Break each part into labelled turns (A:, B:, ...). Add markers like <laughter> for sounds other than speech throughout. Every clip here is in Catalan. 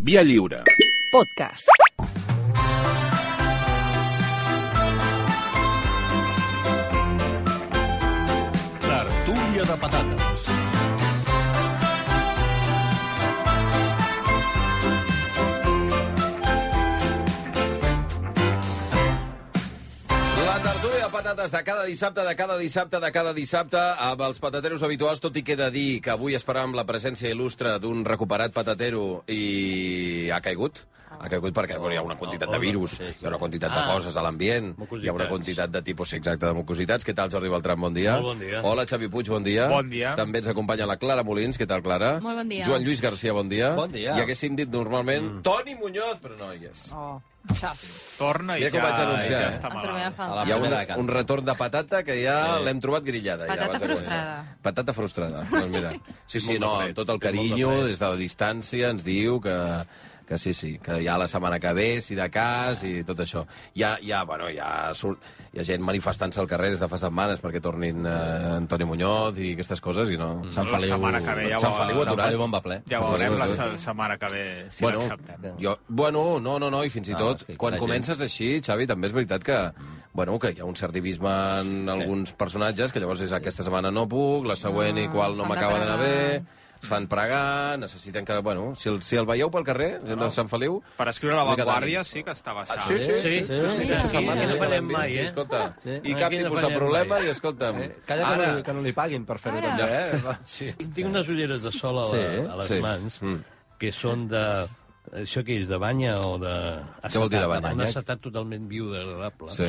A: Via lliure.
B: Podcast.
C: Tertúlia de patates.
D: La tertúlia de patates de cada dissabte, de cada dissabte, de cada dissabte, amb els patateros habituals, tot i que he de dir que avui esperàvem la presència il·lustre d'un recuperat patatero i ha caigut. Ha caigut perquè bueno, hi ha una quantitat de virus, hi ha una quantitat de coses a l'ambient, hi ha una quantitat de tipus sí, exacte de mucositats. Què tal, Jordi Beltran? Bon dia.
E: Molt bon dia.
D: Hola, Xavi Puig, bon dia.
E: Bon dia.
D: També ens acompanya la Clara Molins. Què tal, Clara?
F: Molt bon dia.
D: Joan Lluís Garcia, bon dia.
G: Bon dia.
D: I haguéssim dit normalment mm. Toni Muñoz, però no hi és.
B: Oh.
E: Torna i
D: Mira
E: ja,
D: com vaig anunciar,
E: i
D: eh?
E: ja està
F: Em trobem a
E: malalt.
F: faltar.
G: A la-
D: Hi ha
G: primera de
D: un,
G: canvi.
D: un retorn de patata que ja l'hem trobat grillada.
F: Patata
D: ja abans de
F: frustrada.
D: començar. Patata frustrada, doncs mira. Sí, sí,
E: Molt
D: no,
E: de
D: amb
E: fred,
D: tot el
E: té molt de
D: carinyo,
E: fred.
D: des de la distància, ens diu que que sí, sí, que ja la setmana que ve, si de cas, i tot això. Hi ha, hi ha, bueno, hi ha, surt, hi ha gent manifestant-se al carrer des de fa setmanes perquè tornin eh, Antoni Muñoz i aquestes coses, i no... Sant
E: la setmana que ve ja
D: Sant
E: ho-
D: Feliu
E: Sant
D: aturat.
G: Feliu bomba ple.
E: Ja
D: Sant
E: veurem
D: Feliu
E: la
D: aturat.
E: se- setmana que ve si
D: Bueno,
E: l'acceptem.
D: jo, bueno, no, no, no, i fins i
G: Ah,
D: tot,
G: és que
D: quan
G: la gent- Mm.
D: comences així, Xavi, també és veritat que, bueno, que hi ha un cert divisme en alguns personatges, que llavors és aquesta setmana no puc, la següent
G: Ah,
F: No,
D: igual no
F: s'han de
D: m'acaba d'anar
F: pregar.
D: bé, es fan pregar, necessiten que, bueno, si el, si el veieu pel carrer, gent de Sant Feliu...
E: Per escriure a la
D: una mica
E: Vanguardia
D: d'ànims.
E: sí que està
D: Ah,
E: bastant.
D: sí, sí, sí,
G: Sí,
D: sí, sí,
G: sí, sí,
D: aquesta
F: sí,
D: setmana
F: sí,
D: ja l'hem
F: no
G: fallem
D: vist,
G: mai,
D: i
G: eh?
D: escolta,
G: Eh,
D: I
G: aquí
D: cap
G: no
D: tipus de
G: fallem
D: problema,
G: mai.
D: i escolta'm...
G: Eh, Calla que, no, li- que no li paguin per fer-ho
F: Ara.
G: també, eh? Va.
D: Sí.
H: Tinc unes ulleres de sol a, la,
G: Sí,
H: a les
D: sí.
H: mans
D: Mm.
H: que són de... Això que és, de banya o de...
D: Què vol dir de banya?
H: Un acetat totalment biodegradable.
D: Sí,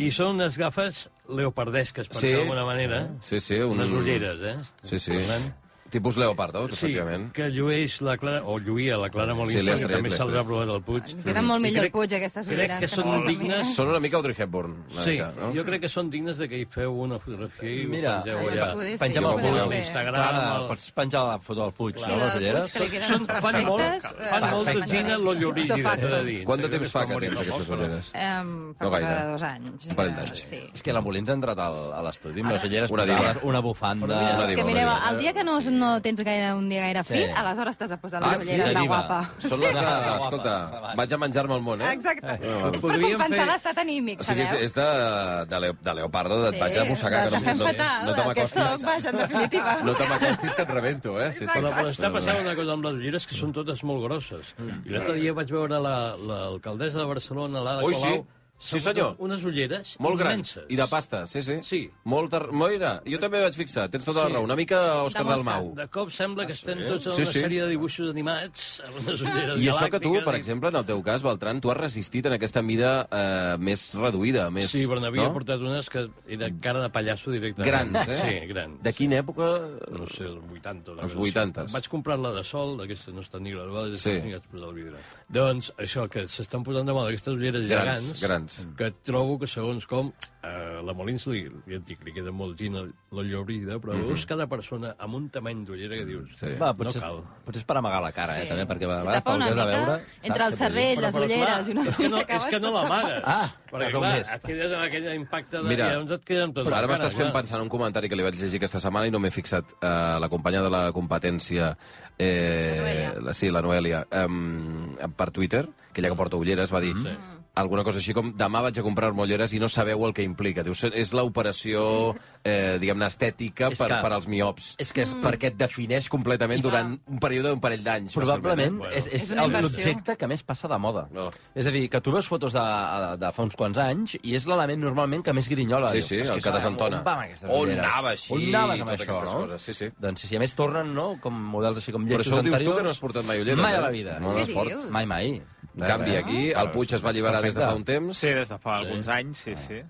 H: I són unes gafes leopardesques, per
D: Sí.
H: sí. d'alguna manera.
D: sí, sí. Un...
H: Unes ulleres, eh?
D: Sí, sí.
H: Per tant,
D: Tipus Leopardo,
H: Sí,
D: efectivament.
H: que llueix la Clara, o lluïa la Clara Molins,
D: Sí, l'he
H: que
D: estret,
H: també
D: l'he
H: se l'ha
D: estret.
H: provat al Puig.
F: Em queden molt
H: I
F: millor
H: crec-
F: el Puig, aquestes ulleres.
H: Crec que són
F: molt
H: dignes...
D: Són una mica Audrey Hepburn, una
H: Sí,
D: mica, no?
H: jo crec que són dignes de que hi feu una fotografia i
G: Mira,
D: eh,
H: ho pengeu
F: Allò
H: allà.
F: ens poder-
G: pengem el
D: sí,
G: Google.
D: ho podem
H: fer.
G: Clara, pots penjar la foto del Puig,
F: Sí,
G: no,
F: la
G: les
F: del Puig,
G: ulleres?
F: que li queden
H: Són, fan molt,
F: perfectes.
H: fan molt
F: perfectes.
H: d'utzina lo llorí,
F: Això
H: t'he
F: facto.
H: de dir.
D: Quant de temps fa que tens aquestes ulleres?
F: Em, fa
D: No
F: no cosa
D: gaire.
F: de dos anys.
D: Un parell d'anys.
F: Sí.
G: És que la Molins ha entrat al, a l'estudi amb les ulleres
D: Una
G: posades,
D: diva.
G: una bufanda...
D: Una diva,
F: És que mireu, el dia que no, no tens gaire, un dia gaire
G: Sí.
F: fit, aleshores t'has de posar
D: Ah,
F: les
D: sí,
F: ulleres
G: la
F: de
G: diva.
F: guapa.
D: Són
H: <laughs>
D: les de...
G: Sí.
D: Escolta, vaig a menjar-me el món, eh?
F: Exacte.
D: Eh,
F: És per
H: podríem
F: compensar
H: fer-
F: l'estat anímic,
D: O sigui, és,
F: sabeu?
D: és de, de, Leo, de Leopardo, et vaig a mossegar.
F: de,
D: Que
F: de fem
D: no,
F: fatal,
D: no, no te
F: el que soc,
D: m'acostis.
F: vaja, en definitiva.
D: No te m'acostis que et rebento, eh? Sí, sí.
H: Però, però està passant una cosa amb les ulleres que són totes molt grosses. I l'altre dia vaig veure la- l'alcaldessa de Barcelona, l'Ada
D: Ui, sí.
H: Colau...
D: Sí,
H: s'ha
D: senyor.
H: fotut Unes ulleres
D: Molt grans.
H: immenses.
D: I de pasta, sí, sí.
H: Sí.
D: Molt ter... Moira, jo també vaig fixar, tens tota la raó. Una mica Òscar
F: De mosca.
D: Dalmau.
H: De cop sembla que estem tots en
D: Ah, Sí,
H: una
D: sí.
H: sèrie de dibuixos animats, amb
D: <laughs>
H: unes ulleres
D: I això que tu,
H: galàctiques,
D: per
H: i-
D: exemple, en el teu cas, Beltran, tu has resistit en aquesta mida eh, més reduïda, més...
H: Sí, però n'havia
D: no?
H: portat unes que era cara de pallasso directament.
D: Grans, eh?
H: Sí, grans.
D: De quina època?
H: No sé, els 80. una
D: Els
H: cosa així.
D: 80s.
H: Vaig comprar-la de sol, d'aquestes no estan ni graduades,
D: Sí.
H: sí. ni vaig posar el vidre. Doncs això, que s'estan posant de moda aquestes ulleres
D: Grans,
H: gegants, Mm.
D: grans.
H: que trobo que segons com, eh, la Molins li, li, et dic, li queda molt gina la llobrida, però mm -hmm. cada persona amb un tamany d'ullera que dius...
D: Mhm. Mm, Sí.
G: Va,
H: No
G: potser,
H: cal.
G: potser és per amagar la cara, eh, també, perquè a
F: Se
G: vegades
F: tapa una
G: pel que has de
F: mica
G: veure...
F: entre el
G: saps què vull dir?
F: cervell, les
H: però,
F: ulleres i una
H: és que no,
F: mica
H: és que no
F: vas
H: l'amagues.
G: Ah,
H: perquè,
G: com
H: clar,
G: és?
H: et quedes amb aquell impacte de...
D: Mira,
H: Mira, llavors et queden
G: Doncs
H: totes
D: Però ara
H: les cares,
D: m'estàs fent
H: clar.
D: pensar en un comentari que li vaig llegir aquesta setmana i no m'he fixat. Eh, la companya de la competència, eh,
F: Noelia.
D: la, sí, la Noelia, eh, per Twitter, que ella que porta ulleres, va
G: Mm-hmm.
D: dir... Mm. Alguna cosa així com, demà vaig a comprar-me ulleres i no sabeu el que implica. Diu, és l'operació, eh, diguem-ne, estètica
G: És
D: per,
G: que-
D: per als miops.
G: És que és per
D: Perquè et defineix completament durant un període d'un parell d'anys. eh?"
G: Probablement
H: Bueno.
G: és, és,
F: És una
G: el-
F: inversió.
G: l'objecte que més passa de moda.
D: No.
G: És a dir, que tu veus fotos de, de fa uns quants anys i és l'element normalment que més grinyola.
D: Sí,
G: Dius,
D: sí,
G: "Ostres,
D: el
G: que
D: que
G: això,
D: desentona.
G: On va amb aquestes
D: On
G: ulleres?
D: anava així
G: On anaves
D: i
G: amb
D: totes
G: això,
D: aquestes
G: no?
D: coses, sí, sí.
G: Doncs sí, sí, a més tornen, no?, com models així com
D: Però
G: lletjos
D: això ho dius tu,
G: anteriors.
D: que no has portat mai ulleres,
G: Mai a
D: eh?
G: la vida.
D: No,
F: no Què esforç. dius?
G: Mai, mai.
D: En canvi, aquí,
G: Ah,
D: el Puig es va alliberar des de fa un temps,
E: Sí, des de fa alguns anys,
D: Ah.
E: sí, sí.
D: però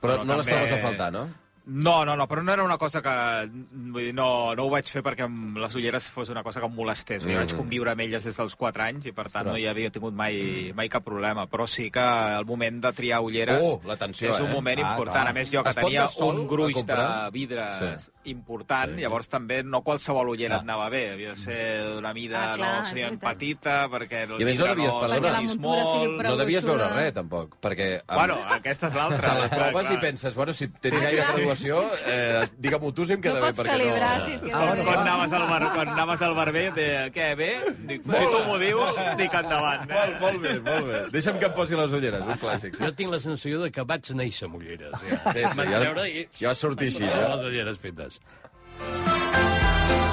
E: Però
D: no
E: també-
D: l'estaves a faltar, no?
E: No, no, no, però no era una cosa que... Vull dir, no, no ho vaig fer perquè amb les ulleres fos una cosa que em molestés. Mm. Jo vaig conviure amb elles des dels 4 anys i, per tant, no hi havia tingut mai,
D: Mm.
E: mai cap problema. Però sí que el moment de triar ulleres
D: Oh, la tensió,
E: és un
D: eh?
E: moment
D: Ah,
E: important.
D: clar.
E: A més, jo que
D: Es pot
E: tenia
D: de sol
E: un gruix
D: a
E: de
D: comprar?
E: vidres
D: Sí. Ah. Mm.
E: important, llavors també no qualsevol ullera et anava bé. Havia de ser d'una mida
F: Ah, clar,
E: no, seria
F: és veritat.
E: petita, perquè el
D: I a més, no
E: vidre
D: devies-
E: es
D: perdona.
F: Perquè la
E: veiés
F: muntura sigui
E: molt.
F: prou-
D: No devies
F: gruixuda.
D: veure res, tampoc, perquè... amb-
E: Bueno, aquesta és l'altra.
D: te la
E: clar,
D: trobes
E: clar.
D: i penses, bueno, si tens gaire
E: sí,
D: per dues situació, eh, digue-m'ho tu si em queda bé.
F: no pots
D: perquè
F: calibrar si es queda
G: Ah,
F: bé.
G: bueno,
E: Quan anaves al, bar, quan anaves al barber, de què, bé? Dic, si tu m'ho dius, dic endavant.
D: Molt, molt bé, molt bé. Deixa'm que em posi les ulleres, un clàssic. Sí,
H: Jo tinc la sensació de que vaig néixer amb ulleres. Ja.
D: sí, sí,
H: Vaig
D: jo,
H: veure i...
D: jo sortir així.
H: Amb
D: Jo.
H: les ulleres fetes.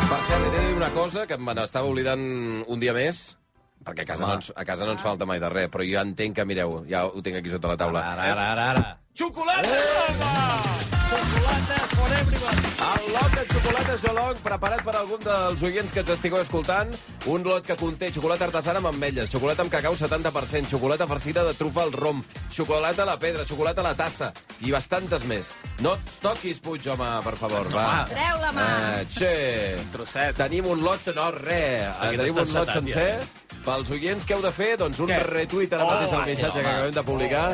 D: Per cert, he de dir una cosa que me n'estava oblidant un dia més, perquè a casa, no ens, a casa no ens falta mai de res, però jo entenc que, mireu, ja ho tinc aquí sota la taula.
G: Ara, ara, ara, ara.
D: Xocolata! El lot de xocolata Jolong preparat per algun dels oients que ens estigueu escoltant. Un lot que conté xocolata artesana amb ametlles, xocolata amb cacau 70%, xocolata farcida de trufa al rom, xocolata a la pedra, xocolata a la tassa i bastantes més. No et toquis, Puig, home, per favor, va.
F: Treu la mà.
D: Eh, che.
E: trosset.
D: Tenim un lot sencer, no, res.
H: Aquest
D: Tenim
H: està
D: un lot
H: encetat,
D: sencer. Pels oients que heu de fer, doncs un
E: Què?
D: retuit ara
E: Oh,
D: mateix al
E: va,
D: missatge que acabem de publicar.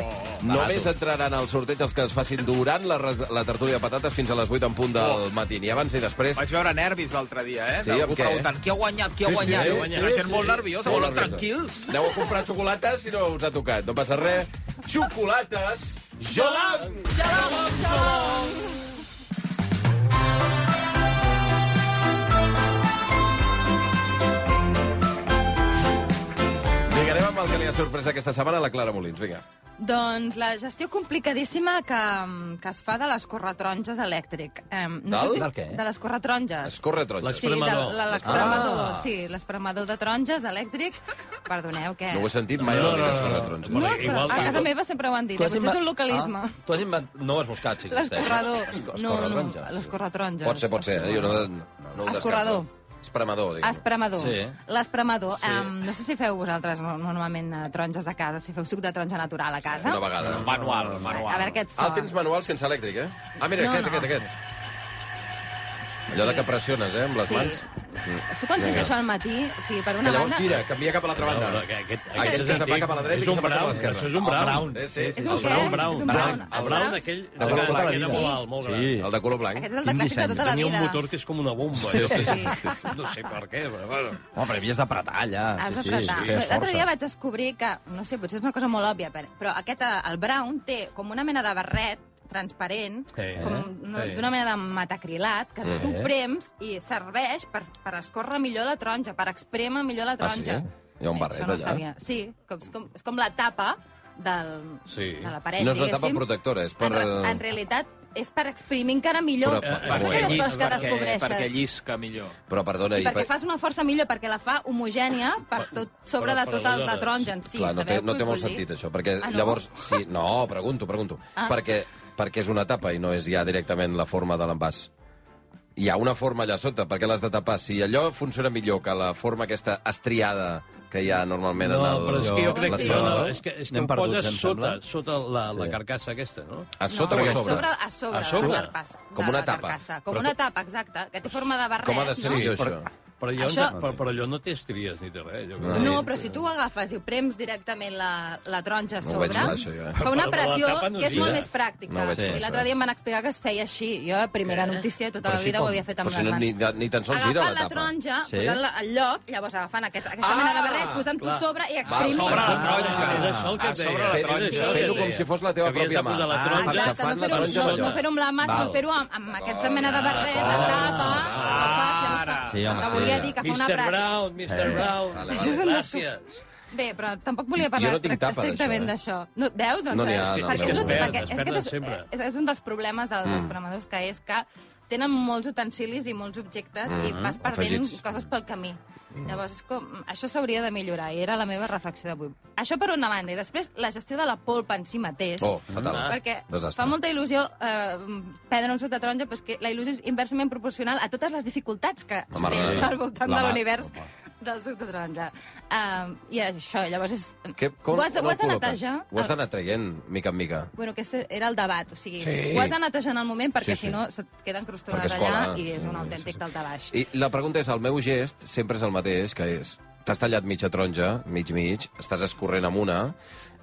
D: Només entraran al sorteig els que es facin durant la, res- la tertúlia de patates fins a les 8 en punt del matí. Ni abans ni després.
E: Oh. Vaig veure nervis l'altre dia, eh?
D: Sí, amb
E: Algú
D: què?
E: preguntant, qui ha guanyat, qui ha
D: Sí, sí, sí,
E: guanyat? Qui ha guanyat?
D: sí,
E: la gent
D: sí,
E: eh? molt
D: sí.
E: nerviosa,
D: Molt
E: molt
D: nerviosa.
E: tranquils.
D: Aneu a comprar xocolata si no us ha tocat. No passa res. Xocolates Jolan! Vinga, anem amb el que li ha sorprès aquesta setmana a la Clara Molins. Vinga.
F: Doncs la gestió complicadíssima que, que es fa de les corretronges elèctric. Eh, no
D: Del?
F: sé si,
G: Del què?
F: De les corretronges.
D: Escorre taronges.
H: Les- L'espremador.
F: Sí, de- de l'espremador, ah. sí, l'espremador de taronges elèctric. Perdoneu, què?
D: No ho he sentit mai,
H: No,
D: no, no,
H: no, no.
D: no, no.
F: No,
H: Vale,
F: és però
H: igual
F: a
H: que-
F: casa meva sempre ho han dit. eh? Potser és un localisme.
G: Ah, tu has invent... No ho has buscat, si eh? existeix.
F: L'escorrador.
G: Esco-
F: No, no,
G: escorradronges.
F: l'escorratronges.
D: Pot ser, pot ser. Eh? Jo no, no, no ho descarto.
F: Escorrador.
D: Espremador, diguem.
F: Espremador.
G: Sí.
F: L'espremador. em, no sé si feu vosaltres no, normalment eh, taronges a casa, si feu suc de taronja natural a casa.
D: Una vegada.
E: Manual,
F: a
E: manual.
F: veure aquest so.
D: Ah, el tens manual sense elèctric, eh? Ah, mira,
F: No,
D: no, aquest,
F: no.
D: no. aquest, aquest. Allò de que pressiones, eh, amb les
F: Sí.
D: sí. mans.
F: Tu quan sents
D: Vinga.
F: això al matí, sí, per
D: Que
F: una
D: llavors
F: banda...
D: gira, canvia cap a l'altra
H: No,
D: banda.
H: no, que aquest,
D: Ah, aquest és
H: antic.
D: cap a la dreta i
H: és un
D: cap a la
H: brown,
D: esquerra.
H: això és un
G: El
H: brown.
G: brown.
D: Eh, sí, sí,
F: És
D: sí.
F: un
H: El
F: què?
H: brown, brown.
F: És un brown.
H: Blanc.
F: Els
H: El brown
F: browns.
H: aquell,
D: De color blanc.
H: que era molt
F: Sí.
H: alt, molt gran.
G: Sí.
D: El de color blanc.
F: Aquest és el de
G: Quin
F: clàssic de
G: disseny.
F: tota la
H: Tenia un
F: vida.
H: motor que és com una bomba. eh?
D: Sí, sí,
F: Sí.
D: sí, sí.
H: No sé per què, però bueno.
G: Home, però havies d'apretar allà.
D: Ah,
F: Has de
G: sí,
F: tratar.
G: Sí, sí,
F: L'altre dia vaig descobrir que, no sé, potser és una cosa molt òbvia, per- però aquest, eh, el Brown, té com una mena de barret transparent,
H: Eh,
F: com no,
H: eh.
F: d'una mena de metacrilat, que tu prems i serveix per, per escórrer millor la taronja, per esprémer millor la
D: Ah,
F: taronja. Eh,
D: sí? eh? Hi ha un barret
F: Això no ho
D: allà?
F: sabia. Sí, com, és, com, és com la tapa del,
H: Sí.
F: de l'aparell,
D: No és una
F: diguéssim.
D: tapa protectora, és per...
F: En, re- en
D: eh,
F: realitat, és per exprimir encara millor
D: Però, eh,
F: totes
D: perquè
F: les
E: llis-
F: coses que
E: perquè,
F: descobreixes.
E: perquè llisca millor.
D: Però perdona...
F: I perquè fas una força millor, perquè la fa homogènia per tot, sobre
H: però
F: de tota la
H: aleshores-
F: taronja en si.
D: Clar, no té,
F: sabeu
D: no té
F: què
D: molt
F: vull dir?
D: sentit, això, perquè
F: Ah, no?
D: llavors... Sí, no, pregunto, pregunto.
F: Ah.
D: Perquè, perquè és una tapa i no és ja directament la forma de l'envàs. Hi ha una forma allà sota, perquè l'has de tapar. Si allò funciona millor que la forma aquesta estriada que hi ha normalment
H: No,
D: en el...
H: però és que jo crec que, no,
D: l'esperador.
H: és que, és que
G: N'hem
H: ho
G: perduts,
H: poses
G: em
H: sota,
G: sembla.
H: sota la, la
G: Sí.
H: carcassa aquesta, no?
D: A sota
F: no,
D: o a
F: a
D: sobre?
F: sobre, a sobre,
H: A sobre?
F: de la carpassa.
D: Com
F: de
D: una
F: la
D: tapa.
F: carcassa. Com una tapa, exacte, que té forma de barret.
D: Com ha de ser
F: no?
D: millor,
H: Però,
D: això?
H: però, allò,
F: Això-
H: no, però, però allò no té estries ni té res. allò que-
F: No, però si tu agafes i ho prems directament la, la taronja a
D: No ho
F: sobre,
D: veig clar, això, jo, eh?
F: fa una
H: Però la
F: pressió
H: tapa no
F: que és
H: gira.
F: molt més pràctica.
D: No ho veig clar,
F: I
D: això. eh.
F: l'altre dia em van explicar que es feia així. Jo, primera notícia, tota
G: Però
F: la
G: així
F: vida
G: com?
F: ho havia fet amb
D: Però si
F: les
D: no,
F: mans.
D: ni, ni tan sols gira
F: agafant
D: la
F: la
D: tapa.
F: taronga,
G: Sí.
F: sí? posant-la al lloc, llavors agafant aquest, aquesta ah, mena de barret, posant-ho sobre i exprimint.
E: sobre la
H: Ah,
E: taronja.
H: és això el que
E: A
H: et
E: sobre
H: deia.
E: la
H: Fer-
E: taronja.
H: fer-ho
D: Fer-ho com si fos la teva
H: Que havies
D: pròpia
H: de
D: mà.
H: posar la
D: Ah,
H: taronja
D: exacte,
F: Exacte,
D: Aixafant la
F: no fer-ho
D: taronja
F: no,
D: allò.
F: no fer amb la mà, sinó fer-ho amb, amb
D: Ah,
F: aquesta mena de barret, de tapa, que faci,
E: Ara.
G: Sí,
F: el
G: home,
F: que
G: sí.
F: volia dir que fa una
H: Mr.
F: frase.
H: Brown, Mr.
D: Eh,
H: Brown,
D: Vale, vale.
H: gràcies.
F: Bé, però tampoc volia parlar
D: Jo no tinc
F: estric-
D: tapa,
F: estrictament
D: d'això, eh?
F: d'això. No, veus? Doncs,
D: No n'hi ha,
F: eh,
D: no,
F: perquè
D: no,
F: és,
D: no.
F: un tema
H: Es
F: que, és, que
H: perden
F: és,
H: sempre.
F: és, és un dels problemes
D: Mm.
F: dels espremadors, que és que tenen molts utensilis i molts objectes i vas perdent
D: Mm-hmm, afegits. Mm.
F: coses pel camí. Llavors, és com, això s'hauria de millorar, i era la meva reflexió d'avui. Això per una banda, i després la gestió de la polpa en si mateix.
D: Oh, fatal.
F: perquè
D: Desastre.
F: fa molta il·lusió eh, prendre un suc de taronja, però és que la il·lusió és inversament proporcional a totes les dificultats que
D: Home,
F: tens
D: re.
F: al voltant
G: La
F: de
G: mà.
F: l'univers del suc de taronja. Um, I això, llavors és...
D: Que, com,
F: ho has,
D: on el
F: ho has de
D: col·loques?
F: netejar... Ah,
D: Ho has d'anar traient, mica en mica.
F: Bueno, aquest era el debat, o sigui,
D: Sí.
F: ho has de netejar en el moment perquè
D: Sí, sí.
F: si no se't queda encrustonat
D: Perquè es
F: allà
D: cola.
F: i és
D: Sí,
F: un
D: sí,
F: autèntic daltabaix.
D: I la pregunta és, el meu gest sempre és el mateix, que és... t'has tallat mitja taronja, mig mig, estàs escorrent amb una,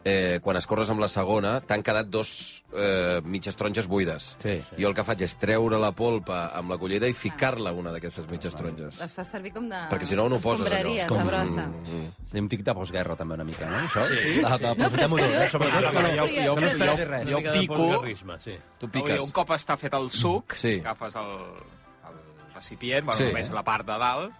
D: eh, quan escorres amb la segona, t'han quedat dos eh, mitges taronges buides.
G: Sí, sí.
D: Jo el que faig és treure la polpa amb la cullera i ficar-la a una d'aquestes mitges taronges.
F: Les fas servir com de...
D: Perquè si no, no ho poses,
F: escombraries,
D: allò. Mm.
F: de
G: Com- Mm,
F: brossa.
G: Té un tic de postguerra, també, una mica, no? Això? Sí. Ah, va,
F: No, però és
G: aprofitem-ho
F: que
G: tot,
F: jo-
G: eh? Sobretot,
E: Ah,
G: que no,
E: jo-
G: jo,
E: jo-
G: no
E: jo-
G: estallaré res.
E: jo-
H: Una mica de
E: pico.
H: postguerrisme, Sí.
D: Tu
E: Piques.
D: piques.
E: Un cop està fet el suc,
D: Sí.
E: sí. agafes el, el recipient, bueno,
D: Sí.
E: sí. només la part de dalt,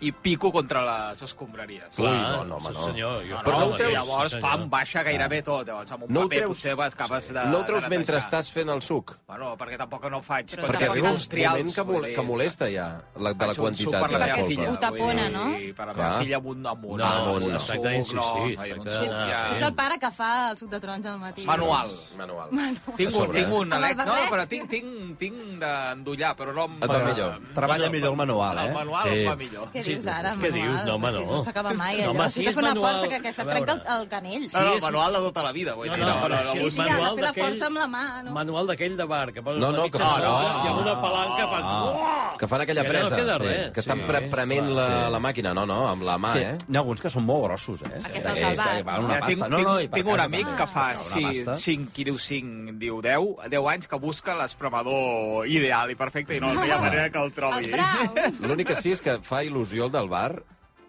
E: i pico contra les escombraries.
D: Ui, no,
E: No,
D: no, home,
H: sí,
D: no.
H: Senyor, jo,
E: no,
D: Però no ho
E: i
D: treus-
E: llavors,
H: sí, senyor.
E: pam, baixa gairebé tot. Llavors, amb un
D: No ho
E: paper
D: treus-
E: potser vas capaç de...
D: No ho
E: de
D: treus
E: netejar.
D: mentre estàs fent el suc.
E: Bueno, perquè tampoc no faig...
F: Però
D: Perquè
F: tampoc
D: arriba un
F: els
D: moment que, mol que molesta ja, la, de la quantitat
F: per
D: de
F: la
D: la
F: meva
D: polpa.
F: filla. Ho tapona, no?
E: Per la meva
D: Clar.
E: filla amb un... Amb un
H: No,
E: amb un
D: no,
E: suc,
H: exacte, sí,
E: no,
H: sí,
E: ai, amb un
H: exacte,
E: suc,
H: no.
E: ja.
F: Tu ets el pare que fa el suc de taronja al matí.
E: Manual.
D: Manual. eh?
E: Tinc un, tinc un,
F: Amb el
E: Alec, no,
F: barret?
E: però tinc, tinc, tinc d'endollar, però no... em-
D: Et va millor.
G: Treballa millor el manual, eh?
E: El manual
H: Sí.
E: em va millor.
F: Què dius ara,
H: Què
F: manual?
H: dius? No, home,
F: Però si
H: no.
F: Això no s'acaba mai,
H: No,
F: allò.
H: home,
F: No,
H: sí,
F: si
H: és
F: és una
H: manual.
F: força que, que
H: A
F: se't
H: veure.
F: trenca el, el canell.
E: No, no,
H: és-
E: el manual de tota la vida, vull
H: No,
E: dir.
H: no, però
F: Sí,
H: un
F: sí, ha de
H: manual
F: fer la
H: d'aquell-
F: força amb la mà, Ah, no?
H: Manual d'aquell de bar, que poses
D: No,
H: la
D: no,
H: mitja
D: que fa-
H: sola
D: no. Ah,
H: i amb una palanca fas... Uah!
D: Que fan aquella
H: Que no
D: presa.
H: queda res.
D: Que estan
H: Sí,
D: pre
H: sí.
D: prement la, la màquina. No, no, amb la mà,
G: Sí,
D: eh?
G: N'hi ha alguns que són molt grossos, eh?
F: Aquests els
G: Aquests
F: salvat.
G: Ah, que valen una
E: Mira, tinc,
G: pasta. No, no, i
E: tinc,
G: per
E: tinc un
G: casa
E: amic
G: també.
E: que fa
G: Una
E: 5,
G: pasta.
E: 5, qui diu 5, diu 10, 10 anys, que busca l'espremador ideal i perfecte i no, no hi ha manera que el
F: Els
E: trobi.
F: braus.
H: <laughs>
D: L'únic que sí és que fa il·lusió el del bar,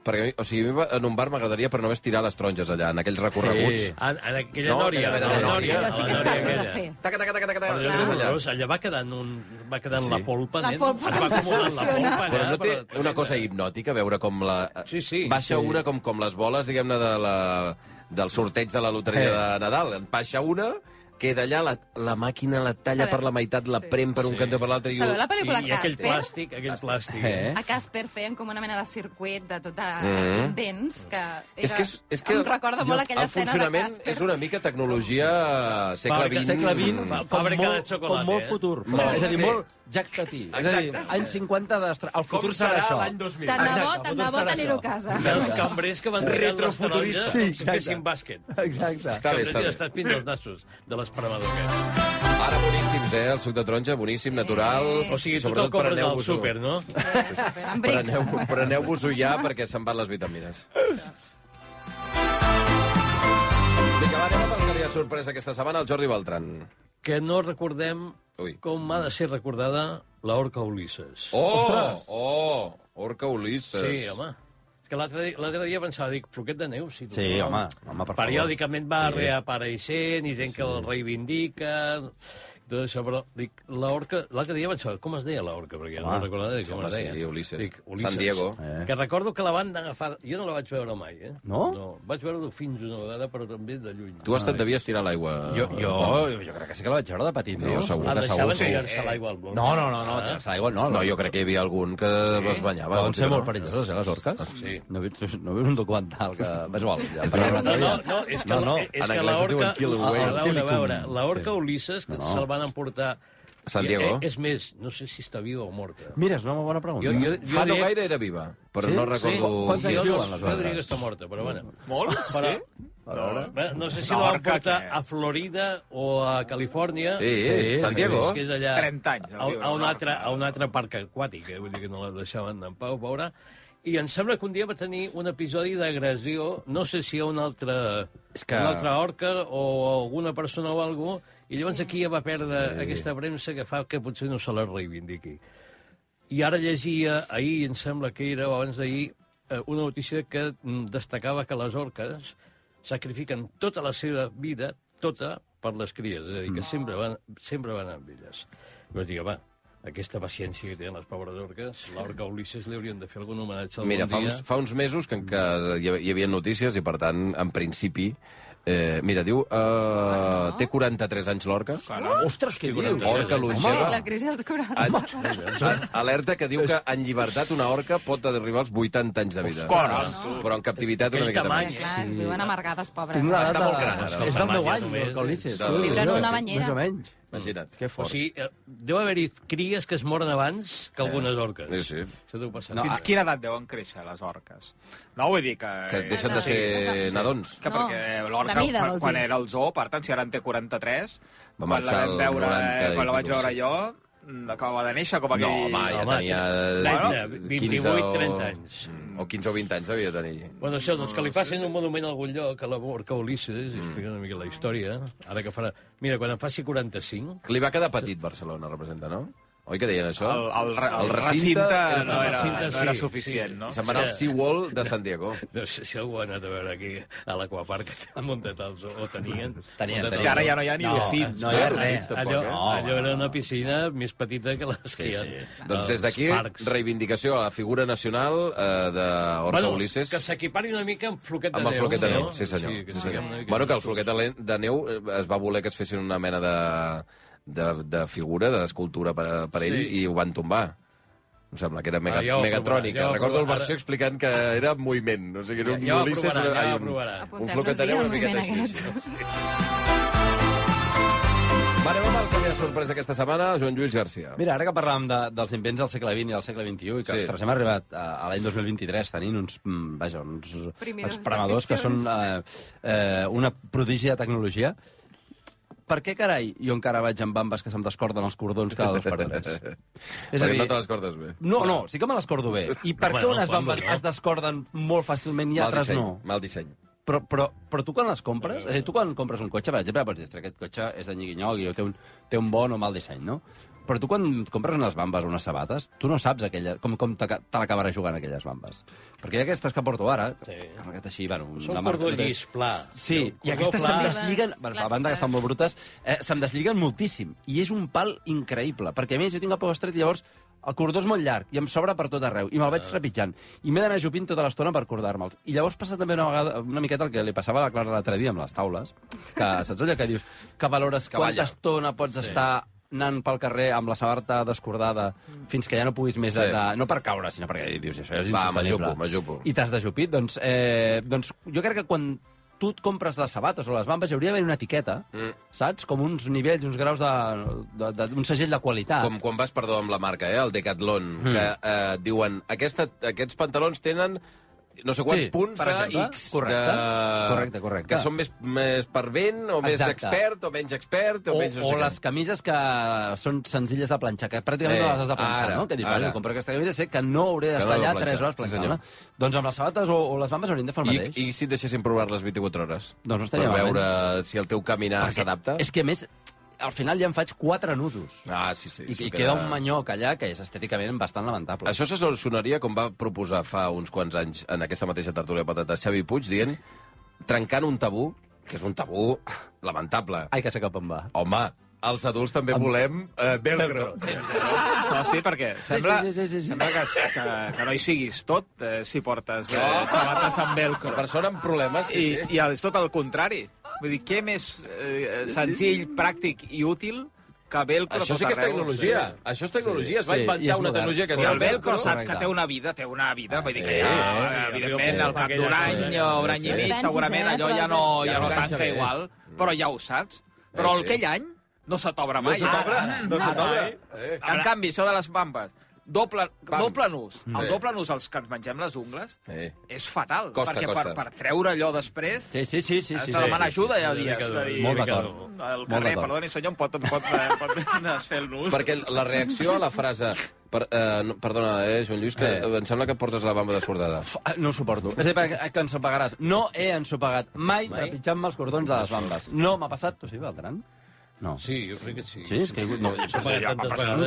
D: perquè, a mi- o sigui, a mi va- en un bar m'agradaria per només tirar les taronges allà, en aquells recorreguts.
H: Sí. En, en aquella
D: No,
H: nòria.
D: aquella
H: en
D: de la
H: aquella
D: nòria.
H: nòria,
F: Allò sí
H: en
F: que és
H: la nòria
F: fàcil de
H: aquella.
F: fer.
D: Taca, taca, taca, taca, taca.
H: Però
D: tires allà.
H: Allà. allà va quedant, un, va quedant
D: Sí.
H: la polpa,
F: La
H: nen.
F: polpa
H: Es va
F: que
H: acumulant la
F: s'emulsiona.
H: polpa allà,
D: Però no té
H: però-
D: una cosa hipnòtica, veure com la...
H: Sí, sí,
D: Baixa
H: sí.
D: una com, com les boles, diguem-ne, de la, del sorteig de la loteria
G: Eh.
D: de Nadal. En baixa una, queda allà, la, la màquina la talla
F: Sabeu-
D: per la meitat, la
F: sí.
D: prem per un
H: Sí.
D: cantó per l'altre... i
F: Sabeu
D: ho-
F: la pel·lícula
H: I aquell
F: Casper?
H: plàstic, aquell plàstic.
G: Eh?
F: A Casper feien com una mena de circuit de tot
D: Mhm.
F: mm. vents que, era,
D: És que, és, és que
F: em recorda molt
D: jo-
F: aquella
D: el
F: escena de
D: funcionament
F: Casper.
D: és una mica tecnologia segle
H: Fàbrica,
D: XX.
G: segle XX,
H: Fa-
G: Mm. com,
H: fàbrica de
G: molt,
H: xocolata,
G: com molt
H: eh?
G: futur.
D: Molt,
G: és a dir,
D: sí.
G: molt Jacques Tati. És a dir,
D: Exacte.
G: any 50 d'estra... El
D: Com
G: futur serà,
D: serà
G: això.
D: l'any 2000?
F: Tant de bo,
G: Exacte,
F: tant de bo
G: serà
F: tenir-ho a
G: això.
F: casa.
H: dels cambrers que van tirant les taronges
G: Sí,
H: com si
G: exacte.
H: fessin bàsquet.
G: Exacte.
D: Està bé, està bé.
H: Estan fins als nassos de l'esperador aquest.
D: Ara boníssims, eh? El suc de taronja, boníssim, natural.
H: O sigui, tu te'l compres al súper, no?
F: Amb brics.
D: Preneu-vos preneu ja perquè se'n van les vitamines. Vinga, va, anem amb el que li ha sorprès aquesta setmana, el Jordi Beltran.
H: Que no recordem
D: Ui.
H: com ha de ser recordada l'orca Ulisses.
D: Oh! Ostres! Oh! Orca Ulisses.
H: Sí, home. És que l'altre di- l'altre dia pensava, dic, floquet de neu, sí.
G: Sí,
H: total.
G: home, home, per favor.
H: Periòdicament va sí. reapareixent i gent que el reivindica... Tot això, però dic, l'orca... L'altre dia vaig saber com es deia l'orca, perquè no
G: Home,
H: no recordava de com
D: home,
H: es deia.
D: sí, Ulisses. San Diego.
G: Eh.
H: Que recordo que la van agafar... Jo no la vaig veure mai, eh?
G: No?
H: No, vaig veure-ho fins una vegada, però també de lluny.
D: Tu has estat, devies tirar a l'aigua.
G: Jo, jo, jo crec que sí que la vaig veure de petit, no?
D: Jo segur.
H: La
D: que
H: Ah, deixaven
D: segur, sí.
H: tirar-se a l'aigua al bloc.
G: No, no, no, no, ah. igual, no.
D: No, jo crec que hi havia algun que sí. es banyava.
H: Doncs
G: Van ser
D: algun
G: molt
D: que no.
G: perilloses, eh, les orques?
H: Sí.
G: No, veus, no veus un documental que... <laughs> Més val. Ja,
D: És
G: perquè-
D: veritat.
H: No, no, no, és que,
G: No, no,
H: és
D: en anglès
H: que
D: es diuen
H: l'orca...
D: kill
H: A
D: whale.
H: veure, a veure,
G: Kilicum.
H: l'orca Ulisses, que
G: No.
H: se la van emportar...
D: San Diego.
H: I, eh, És més, no sé si està viva o morta.
G: Mira, és una bona pregunta.
H: Jo, jo, jo
D: Fa no
H: diria-
D: gaire era viva, però
G: Sí?
D: no
G: Sí?
D: recordo...
G: Quants anys
H: Jo,
G: diuen,
H: no, jo
G: aleshores?
H: diria que està morta, però bueno.
E: Molt?
H: Però,
E: Sí?
H: Bé, no sé si
E: Una
H: la van
E: orca
H: portar
E: que-
H: a Florida o a Califòrnia.
D: Sí, sí, San eh, Diego.
H: És que és allà,
E: 30 anys,
H: A,
E: viu,
H: a, un
E: una
H: altre,
E: orca.
H: a un altre parc aquàtic, eh? vull dir que no la deixaven en pau, veure. I em sembla que un dia va tenir un episodi d'agressió, no sé si a una altra,
G: És que-
H: una altra orca o a alguna persona o algú, i llavors sí. aquí ja va perdre sí. aquesta premsa que fa que potser no se la reivindiqui. I ara llegia, ahir em sembla que era, o abans d'ahir, eh, una notícia que mm, destacava que les orques sacrifiquen tota la seva vida, tota, per les cries. És a dir, que
G: Mm.
H: sempre van, sempre van amb elles. I vaig dir, home, aquesta paciència que tenen les pobres orques, l'orca Ulisses li haurien de fer algun homenatge algun
D: Mira, fa
H: dia.
D: uns, fa uns mesos que, que hi ha- hi havia notícies i, per tant, en principi... Eh, mira, diu... Eh, té 43 anys l'Orca.
G: Ostres, què dius?
D: Orca
F: Home,
D: longeva.
F: la crisi dels 40.
D: Ah, a- Alerta que diu que en llibertat una orca pot arribar als 80 anys de vida.
E: Caram,
D: Però en captivitat una
H: Aquell
D: miqueta
H: tamany. eh?
D: més.
F: Clar, es
G: sí.
F: viuen amargades, pobres.
G: Tinc una
D: Està
G: data-
D: molt gran, ara.
G: És del meu
H: Mamanya
G: any,
H: només,
G: el Ulisses.
D: és del-
F: Viure en una
G: Sí,
F: banyera.
G: Més o menys.
D: Imagina't.
G: Que
H: O
G: fort.
H: sigui, eh, deu haver-hi cries que es moren abans
G: Eh.
H: que algunes orques.
D: Sí, sí.
H: Això deu passar.
E: No, Fins
H: Fins
E: quina edat deuen créixer les orques? No vull dir que... eh,
D: Que deixen de ser nadons.
E: Que
F: No,
E: perquè
F: la
E: l'orca,
F: mida,
E: quan,
F: vols
E: quan
F: dir.
E: era el zoo, per tant, si ara en té 43,
D: Va
E: quan la
D: marxar
E: vam
D: el
E: veure, eh,
D: 90 i
E: quan la vaig
D: pico,
E: veure
D: sí.
E: jo, mm, acabava de néixer, com
D: No, eh?
E: aquell...
D: home, ja
H: Home,
D: tenia...
H: trenta,
D: 15 o-
H: 28, 30 anys.
D: Mm, O 15 o 20 anys devia tenir.
H: Bueno, això, doncs que li facin un monument a algun lloc, a la Borca Ulisses, i expliquen una mica la història. Ara que farà... Mira, quan em faci 45...
D: Li va quedar petit Barcelona, representa, no? Oi que deien això?
E: El, el, re- el,
D: El
E: recinte,
D: recinte era-
E: no, era,
H: recinte,
E: no era
H: sí,
E: suficient,
H: sí.
E: no?
D: Se'n va anar al Seawall de San Diego.
H: No sé si algú ha anat a veure aquí a l'Aquapark a Montetals, o, o
G: Tenien,
H: tenien... Montetals.
G: tenien.
E: Si ara ja no hi ha ni
G: No,
E: vecins.
G: no hi ha
D: res.
G: res.
D: Tampoc,
H: allò,
D: eh?
G: No,
H: allò
G: no,
H: era
G: no.
H: una piscina més petita que les que hi ha. als
D: Doncs des d'aquí,
H: parcs.
D: reivindicació a la figura nacional eh, d'Horta
H: Bueno,
D: Ulisses.
H: que s'equipari una mica amb floquet de
D: Amb el
H: neu.
D: floquet de neu,
H: no?
D: sí senyor.
H: que
D: Sí,
H: siguem una
D: senyor.
H: mica
D: Bueno, que el
H: més
D: floquet de le- de neu eh, es va voler que es fessin una mena de, de, de figura, d'escultura per, a- per a ell,
H: Sí.
D: i ho van tombar. Em sembla que era mega,
H: Ah, ja ho
D: megatrònica.
H: aprovarà, ja ho
D: Recordo el
H: aprovarà.
D: versió explicant que era en moviment. O sigui, era un
H: Ja ho
D: Ulisses...
H: aprovarà, ja
D: ai,
H: ho
D: un-
H: aprovarà.
D: Un floquet de neu una miqueta així.
F: Aquest.
D: Va, anem amb el que m'ha sorprès aquesta setmana, Joan Lluís Garcia.
G: Mira, ara que parlàvem de, dels invents del segle XX i del segle XXI, i que,
D: Sí.
G: sí. ostres, hem arribat a, a l'any 2023 tenint uns, mm, vaja, uns
F: Primeres
G: espremadors que són eh, eh, una prodigi de tecnologia, per què, carai, jo encara vaig amb bambes que se'm descorden els cordons cada dos per
D: <laughs>
G: tres?
D: És a dir... No te les cordes bé.
G: No, no, sí que me les cordo bé. I per què
H: Bueno,
G: unes
H: quan
G: bambes
H: vulgueu.
G: es descorden molt fàcilment i
D: mal
G: altres
D: disseny,
G: no?
D: Mal disseny.
G: Però, però, però tu quan les compres, és a dir, tu quan compres un cotxe, per exemple, pots dir, "Ostres, aquest cotxe és de nyigui-nyogui o té un, té un bon o mal disseny, no? Però tu quan compres unes bambes o unes sabates, tu no saps aquella, com, com te, te l'acabaràs jugant aquelles bambes. Perquè hi ha aquestes que porto ara,
H: Sí.
G: sí. aquest així, bueno...
H: Són
G: la marca-
H: cordó llis, pla.
G: Sí,
H: Té un
G: i
H: cordó
G: aquestes
H: pla.
G: se'n
F: clar.
G: deslliguen, a banda que estan molt brutes, eh, se'n deslliguen moltíssim. I és un pal increïble, perquè a més jo tinc el peu estret i llavors el cordó és molt llarg i em sobra per tot arreu i me'l vaig trepitjant. I m'he d'anar jupint tota l'estona per cordar-me'ls. I llavors passa també una vegada una miqueta el que li passava a la Clara l'altre dia amb les taules, que saps allò que dius, que valores
D: Cavalla.
G: quanta estona pots estar anant pel carrer amb la sabarta descordada fins que ja no puguis més...
D: Sí.
G: De, no per caure, sinó perquè dius, això és
D: Va,
G: insostenible.
D: m'ajupo, m'ajupo.
G: I t'has d'ajupit? Doncs, eh, doncs jo crec que quan tu et compres les sabates o les bambes, hi hauria d'haver una etiqueta, mm. saps? Com uns nivells, uns graus de... de, de un segell de qualitat.
D: Com quan vas, perdó, amb la marca, eh, el Decathlon,
G: Hmm.
D: mm. que eh, et diuen aquesta, aquests pantalons tenen no sé quants
G: Sí,
D: punts
G: per
D: de
G: exemple.
D: X.
G: Correcte.
D: De...
G: Correcte, correcte.
D: Que són més, més per vent, o més
G: Exacte.
D: d'expert, o menys expert, o,
G: O,
D: menys... no
G: o
D: sé què.
G: les camises que són senzilles de planxar, que pràcticament
D: Eh,
G: eh, no les has de planxar,
D: ara,
G: no? Que dius,
D: ara.
G: vale, compro aquesta camisa, sé que no hauré
D: Que no
G: d'estar
D: l'he de
G: allà
D: planxar,
G: 3 hores
D: sí, senyor.
G: planxant-la. doncs amb les sabates o, o les bambes haurien de fer el mateix.
D: I, I si et deixessin provar les 24 hores?
G: Doncs no
D: per
G: estaria malament.
D: veure si el teu caminar
G: Perquè
D: s'adapta?
G: És que, a més, al final ja en faig 4 nusos.
D: Ah, sí, sí.
G: I,
D: això
G: I queda un manyoc allà que és estèticament bastant lamentable.
D: Això se solucionaria com va proposar fa uns quants anys en aquesta mateixa tertúlia de patates Xavi Puig, dient, trencant un tabú, que és un tabú lamentable.
G: Ai, que sé cap on va.
D: Home, els adults també volem eh, velcro.
E: No, sí, perquè sembla, sí, sí, sí, sí,
G: sí.
E: sembla que, que, que no hi siguis tot eh, si portes eh, sabates amb velcro.
D: Persona amb problemes, sí,
E: I,
D: sí.
E: I és tot el contrari. Vull dir, què més eh, senzill, pràctic i útil que velcro
D: Això
E: a tot
D: sí que és
E: arreu?
D: tecnologia. Això és tecnologia. Es va
G: Sí, i
D: inventar
G: és
D: una
G: modern.
D: tecnologia que es
E: I
D: diu
E: el velcro saps
G: correcte.
E: que té una vida, té una vida. Vull dir que
D: Eh,
E: ja,
H: eh,
E: evidentment,
H: eh,
E: al cap d'un
H: eh,
E: any
H: eh,
E: o un any i
F: eh,
E: mig,
F: eh,
E: segurament
F: eh,
E: allò
F: però-
E: ja no,
D: Ja
E: ja
D: no
E: no
D: enganxa
E: tanca
D: bé.
E: igual, però ja ho saps.
D: Eh,
E: Però
D: sí.
E: aquell any no se t'obre
D: No
E: mai.
D: se t'obre, no se t'obre. Eh.
E: En canvi, això de les bambes, doble,
D: Bam.
E: doble nus.
D: Sí.
E: El doble nus, els que ens mengem les ungles,
D: Eh.
E: és fatal.
D: Costa,
E: perquè
D: costa.
E: Per, per treure allò després...
G: Sí, sí, sí, sí.
E: Has
G: sí,
E: de demanar
G: sí,
E: ajuda, ja
H: Una
E: dies.
H: mica
E: Has de
H: dur,
E: dir,
G: molt
E: "Mira,
G: d'acord.
E: Al
G: Molt
E: carrer,
G: d'acord.
E: perdoni, senyor, em pot, em pot, pot, <laughs> desfer el nus.
D: Perquè la reacció a la frase... Per, eh, no, perdona, eh, Joan Lluís, que
G: Eh.
D: eh. em sembla que portes la bamba descordada.
G: Pf, ah, No ho suporto. És a dir, perquè- que ensopegaràs. No he ensopegat mai, mai? trepitjant-me els cordons de les bambes. No m'ha passat. Tu sí, Beltran? No.
H: Sí, jo crec que sí.
G: Sí, és que... No,
H: S'ha pagat tantes vegades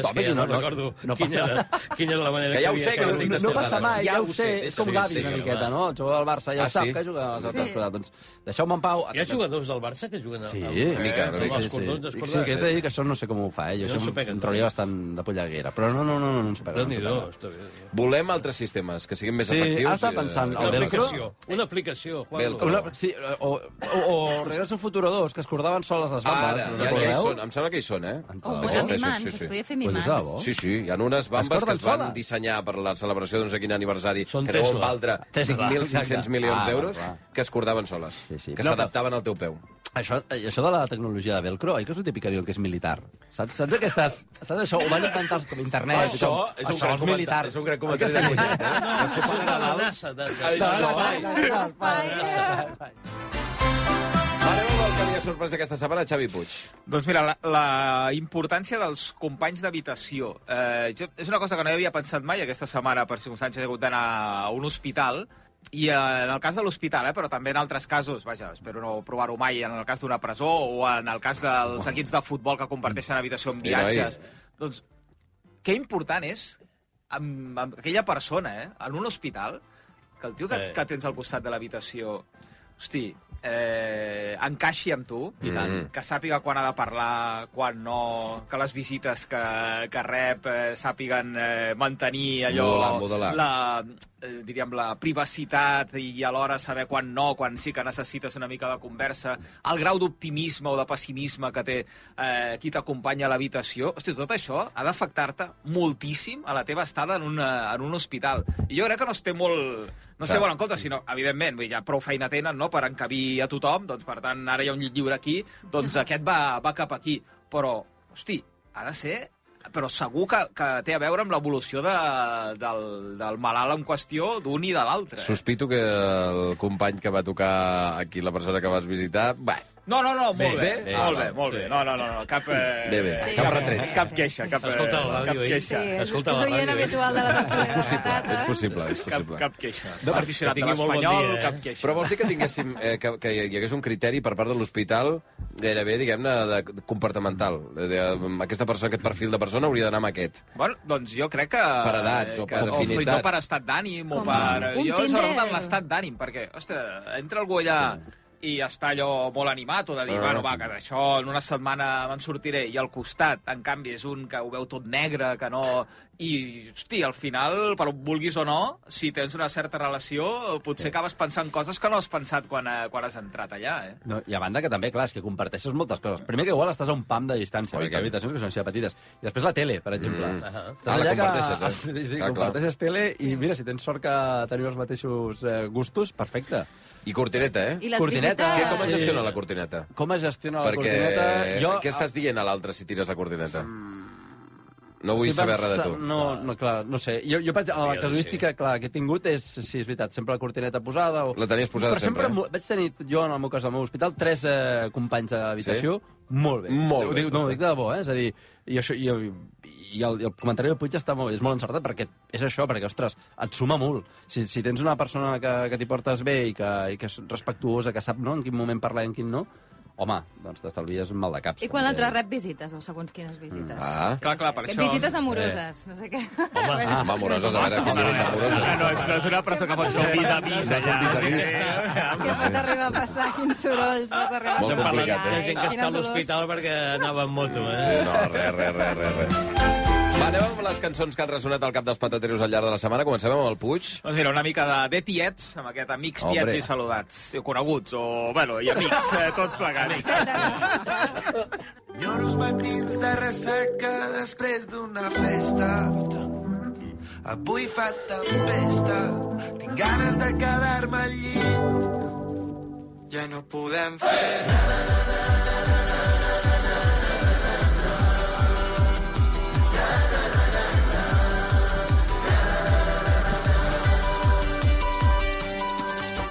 G: totalment,
H: que ja
G: no,
H: no,
G: no,
H: recordo
G: no
H: quina,
G: passa.
H: era, quina era la manera
D: Que ja ho
H: havia
D: sé, que no estic
G: no, no passa
D: descordades.
G: mai, ja,
D: Ja ho
G: ho sé.
D: sé,
G: És com
D: sí,
G: Gavi,
D: sí,
G: una
D: sí,
G: miqueta, no? El jugador del Barça ja
D: Ah,
G: ho sap
D: sí?
G: que juga a les altres
F: Sí.
G: cordades. Doncs deixeu-me en pau.
H: Hi ha jugadors del Barça que juguen al...
G: Sí, una
H: al-
D: mica, una
H: amb
D: mica,
H: eh? els cordons
G: sí, sí.
H: descordats.
G: Sí, que he de dir que això no sé com ho fa, eh? Jo,
H: No
G: no
H: s'ho
G: sé,
H: peguen,
G: em trobaria bastant de pollaguera. Però no, no, no, no, no ens peguen. no ens
H: Déu-n'hi-do,
G: peguen.
H: està bé.
D: Volem altres sistemes que siguin més
G: Sí,
D: efectius.
G: ara estava
D: i, eh,
G: pensant,
H: Una
G: el velcro?
H: aplicació, una aplicació,
D: Velcro.
H: Juan.
G: Una, sí, o, o, o Regreso al Futuro 2, que es cordaven soles les bambes.
D: Ara,
G: no
D: ja, ja hi
G: recordeu?
D: són. Em sembla que hi són, eh?
G: En
F: O
G: Pau.
F: amb
D: Existeixen,
F: mimans,
D: sí,
F: es
D: sí.
F: podia fer
G: Pues
F: mimans.
G: és de bo.
D: Sí, sí, hi ha unes bambes
G: Es
D: que
G: porten
D: es van
G: soles?
D: dissenyar per la celebració d'un sé quin aniversari,
H: Són
D: que deuen
H: Tesla.
D: valdre
G: Tesla,
D: 5.500
G: exacte.
D: milions
G: Ah,
D: d'euros,
G: clar, clar.
D: que es cordaven soles,
G: Sí, sí.
D: que
G: No,
D: s'adaptaven al teu peu.
G: Això, eh, això de la tecnologia de velcro, oi que és el típic que diuen que és militar? Saps, saps aquestes... Saps això? Ho van inventar els- com internet. i tot. això és militar.
D: és Ah, un gran comentari de Mollet, eh?
H: Això és de la NASA. De, de,
D: Això...
F: Espai.
D: Ara veureu el que li ha sorpresa aquesta setmana, Xavi Puig.
E: Doncs mira, la, la importància dels companys d'habitació. Eh, jo, és una cosa que no hi havia pensat mai aquesta setmana, per circumstàncies he hagut d'anar a un hospital, i eh, en el cas de l'hospital, eh, però també en altres casos, vaja, espero no provar-ho mai, en el cas d'una presó o en el cas dels equips de futbol que comparteixen habitació amb
D: Mira,
E: viatges. Doncs, què important és amb, amb aquella persona, eh, en un hospital, que el tio que,
H: Eh.
E: que tens al costat de l'habitació, hosti, eh, encaixi amb tu,
D: I tant.
E: que sàpiga quan ha de parlar, quan no, que les visites que, que rep eh, sàpiguen eh, mantenir allò...
D: Modelar, modelar.
E: La, eh, diríem, la privacitat i alhora saber quan no, quan sí que necessites una mica de conversa, el grau d'optimisme o de pessimisme que té eh, qui t'acompanya a l'habitació. Hosti, tot això ha d'afectar-te moltíssim a la teva estada en, una, en un hospital. I jo crec que no es té molt... No sé,
D: Clar.
E: bueno, en compte, sinó, evidentment, vull dir, ja prou feina tenen no, per encabir a tothom, doncs, per tant, ara hi ha un llit lliure aquí, doncs aquest va, va cap aquí. Però, hosti, ha de ser però segur que, que té a veure amb l'evolució de, del, del malalt en qüestió d'un i de l'altre. eh?
D: Sospito que el company que va tocar aquí, la persona que vas visitar... Bé,
E: No, no, no, molt bé,
D: bé,
E: molt bé,
D: bé.
E: molt bé. No, no, no, no cap... Eh,
D: Bé, bé,
F: cap
D: retret.
E: Cap queixa, cap, eh,
H: Escolta la ràdio,
E: cap
H: ell.
F: Sí,
E: queixa.
F: és,
H: Escolta la
F: és oient
H: ràdio, eh?
F: habitual de la eh? tertúlia.
D: és possible, és possible, és
E: Cap,
D: possible.
E: cap queixa.
H: No,
E: No, Aficionat
H: que
E: de
H: tingui molt bon
E: l'Espanyol,
H: dia, eh?
E: cap queixa.
D: Però vols dir que tinguéssim, eh, que, que hi hagués un criteri per part de l'hospital gairebé, diguem-ne, de- de comportamental. De, de, mm, aquesta persona, aquest perfil de persona hauria d'anar amb aquest.
E: Bueno, doncs jo crec que...
D: Per edats o
E: que-
D: per
E: O fins i
D: afinitats.
E: tot per estat d'ànim o
F: Com
E: per...
F: un
E: jo
F: Tinder.
E: sobretot en l'estat d'ànim, perquè, ostres, entra algú allà i està allò molt animat o de dir,
D: Ah.
E: bueno, va, que d'això en una setmana me'n sortiré, i al costat, en canvi, és un que ho veu tot negre, que no... I, hosti, al final, per on vulguis o no, si tens una certa relació, potser acabes pensant coses que no has pensat quan, eh, quan has entrat allà, eh?
G: No, I a banda que també, clar, és que comparteixes moltes coses. Primer que igual estàs a un pam de distància,
D: Oi,
G: perquè hi ha
D: que-
G: habitacions que són així de petites. I després la tele, per exemple. Mm. Uh
D: Ah, la comparteixes, eh?
G: <laughs> Sí, sí,
D: Clar, clar.
G: comparteixes tele i mira, si tens sort que teniu els mateixos eh, gustos, perfecte.
D: I cortineta, eh?
F: I les
G: Cortineta.
F: visites...
D: Què, com es
G: Sí.
D: gestiona la cortineta?
G: Com es gestiona la
D: Perquè...
G: cortineta?
D: Jo... Què estàs dient a l'altre si tires la cortineta? No vull
G: Estic
D: saber res de
G: pensant-
D: tu.
G: No, no, clar, no sé. Jo, jo vaig, la
H: Hauria de
G: casuística clar, que he tingut és, sí, és veritat, sempre la cortineta posada. O...
D: La tenies posada
G: Però sempre.
D: sempre, eh?
G: mo- Vaig tenir, jo en el meu cas, al meu hospital, tres eh, companys d'habitació molt bé.
D: Molt
G: ho
D: bé,
G: dic,
D: tot
G: no, ho
D: bé.
G: dic de debò, eh? És a dir, i, això, i, el, i el, i el comentari del Puig està molt, és molt encertat perquè és això, perquè, ostres, et suma molt. Si, si tens una persona que, que t'hi portes bé i que, i que és respectuosa, que sap no, en quin moment parlar i en quin no, home, doncs t'estalvies mal de caps.
F: I quan
G: també.
F: l'altre rep visites, o segons quines visites.
D: Ah.
E: Clar, clar, per això...
H: Eh.
F: Visites amoroses, no sé què.
H: Home,
D: Ah, amb amoroses, a veure, com diuen amoroses.
E: Ah, no, és, no és una presó que pot ser un vis-a-vis, allà.
F: <laughs> Què pot arribar a passar? Quins sorolls pot arribar
D: Molt
F: a passar?
D: complicat, eh?
H: Hi ha gent que
F: Quines
H: està a
F: olors.
H: l'hospital perquè anava en moto, eh?
D: No, res, res, res, res, res. Va, anem amb les cançons que han ressonat al cap dels patateros al llarg de la setmana. Comencem amb el Puig.
E: Doncs mira, una mica de, de tiets, amb aquest amics, tiets
D: Hombre.
E: i saludats. I coneguts, o, bueno, i amics, eh, tots plegats.
A: Nyoros matins de ressaca després d'una festa. Avui fa tempesta, tinc ganes de quedar-me al llit. Ja no podem fer...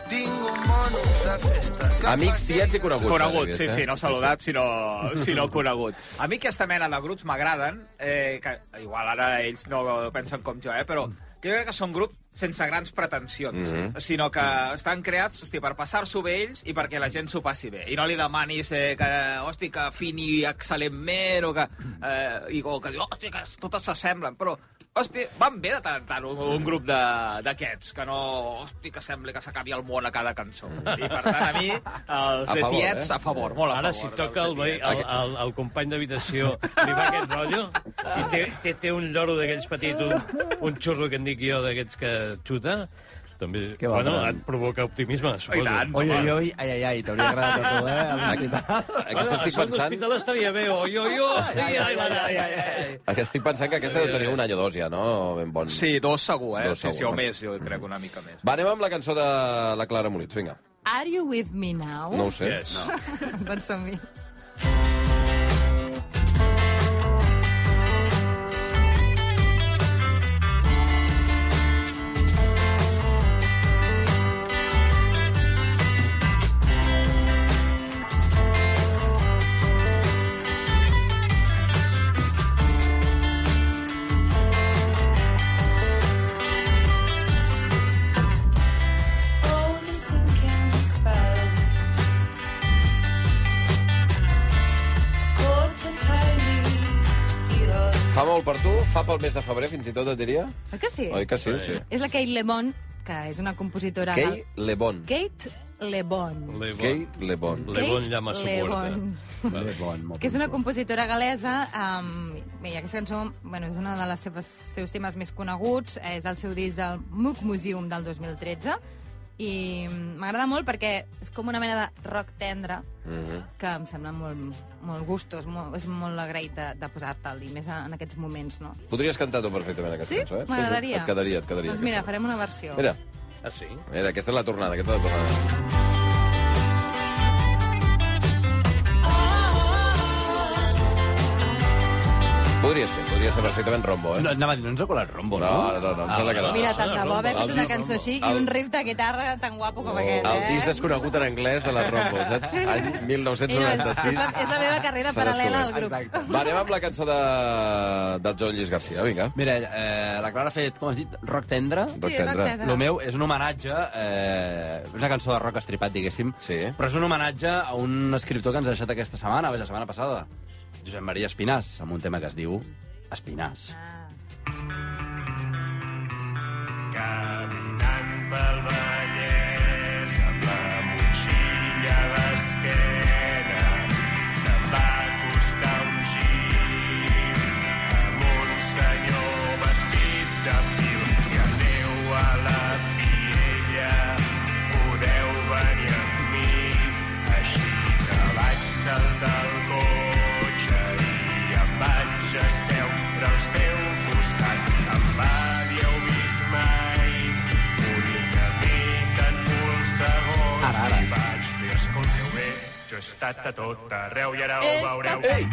A: Tinc un mono de festa... que
D: Amics,
A: faci
D: tiets i coneguts.
E: Conegut,
D: ara,
E: sí,
D: aquest,
E: sí,
D: eh?
E: no saludat, sinó,
D: <laughs>
E: sinó conegut. A mi aquesta mena de grups m'agraden, eh, que igual ara ells no pensen com jo, eh, però jo crec que són grups sense grans
D: Mhm.
E: pretensions, mm -hmm. sinó que estan creats hosti, per passar-s'ho bé ells i perquè la gent s'ho passi bé. I no li demanis eh, que, hosti, que afini excel·lentment o que, eh, i, o que diu, hosti, que totes s'assemblen, però Hosti, van bé de tant en tant un, un grup de- d'aquests, que no... Hosti, que sembla que s'acabi el món a cada cançó. I, per tant, a mi, els
D: Mhm. A
E: de
D: favor,
E: tiets,
D: eh?
E: a favor, molt a
H: Ara, si
E: favor.
H: toca el, veí, el, el, el company d'habitació, li va aquest rotllo i té, té, té un lloro d'aquells petits, un, un xurro que en dic jo d'aquests que xuta, també,
G: Què va,
H: bueno,
G: Fran?
H: et provoca optimisme, suposo.
E: I tant.
G: Oi, oi, oi, ai, ai, ai, t'hauria agradat a tu, eh? a l'hospital.
D: Aquesta estic
H: Això a
D: pensant...
H: l'hospital estaria bé, oi, oi, oi, ai, ai, ai, ai, ai, ai.
D: Aquesta estic pensant que aquesta deu tenir un any o dos ja, no? Ben bon.
E: Sí, dos segur, eh?
D: Dos
E: Dos segur. Sí, sí,
D: segur.
E: o més, jo crec, una mica més.
D: Va, anem amb la cançó de la Clara Molins, vinga.
F: Are you with me now?
D: No ho sé.
H: Yes. No.
F: <laughs> Doncs som -hi.
D: molt per tu, fa pel mes de febrer, fins i tot, et diria.
F: Oi que sí?
D: Oi que sí, sí.
F: És la Kate Le Bon, que és una compositora...
D: Kay Lebon.
F: Kate Le Bon.
H: Le
D: Kay Lebon.
H: Le Bon llama su puerta.
G: Vale, bon, molt
F: que és
G: bon.
F: una compositora galesa. Um, bé, i aquesta cançó bueno, és una de les seves, seus temes més coneguts, eh, és del seu disc del Mook Museum del 2013, i m'agrada molt perquè és com una mena de rock tendre mm
D: Mhm.
F: -hmm. que em sembla molt, molt gustos, molt, és molt agraït de, de posar-te'l, i més en aquests moments, no?
D: Podries cantar tu perfectament aquesta
F: Sí?
D: cançó, eh?
F: M'agradaria.
D: Et quedaria, et quedaria.
F: Doncs mira,
D: aquesta.
F: farem una versió.
D: Mira,
H: Ah, sí?
D: mira, aquesta és la tornada, aquesta és la tornada. Podria ser, podria ser perfectament Rombo, eh?
G: No, anava a dir, no Ah, ens ha colat Rombo,
D: no, no, no, no em sembla que no.
F: Mira, tant de bo haver fet una cançó així i
D: el- Oh.
F: un riff de guitarra tan guapo com aquest, eh?
D: El disc desconegut en anglès de la Rombo,
F: <laughs>
D: saps? Any
F: Mira, és,
D: 1996.
F: la, és la meva carrera
D: S'ha
F: paral·lela al
D: descobert.
F: grup.
D: eh? Va, anem amb la cançó de... del Joan Lluís Garcia, vinga.
G: Mira, eh, la Clara ha fet, com has dit, rock tendre.
D: Rock
F: Sí,
D: tendre.
F: rock tendre.
G: Lo meu és un homenatge... Eh, és una cançó de rock estripat, diguéssim.
D: Sí.
G: Però és un homenatge a un escriptor que ens ha deixat aquesta setmana, o la setmana passada. Josep Maria Espinàs, amb un tema que es diu Espinàs.
B: Caminant pel Vallès amb la motxilla a l'esquena se'm va costar un gir amb un senyor vestit de fil. Si aneu a la Piella podeu venir amb mi. Així que vaig saltar al cotxe i em vaig asseure al seu costat. Em va dir, heu vist mai un internet en molts segons?
G: Ara, ara.
B: I vaig dir, escolteu bé, jo he estat a tot arreu i ara ho veureu. Ei!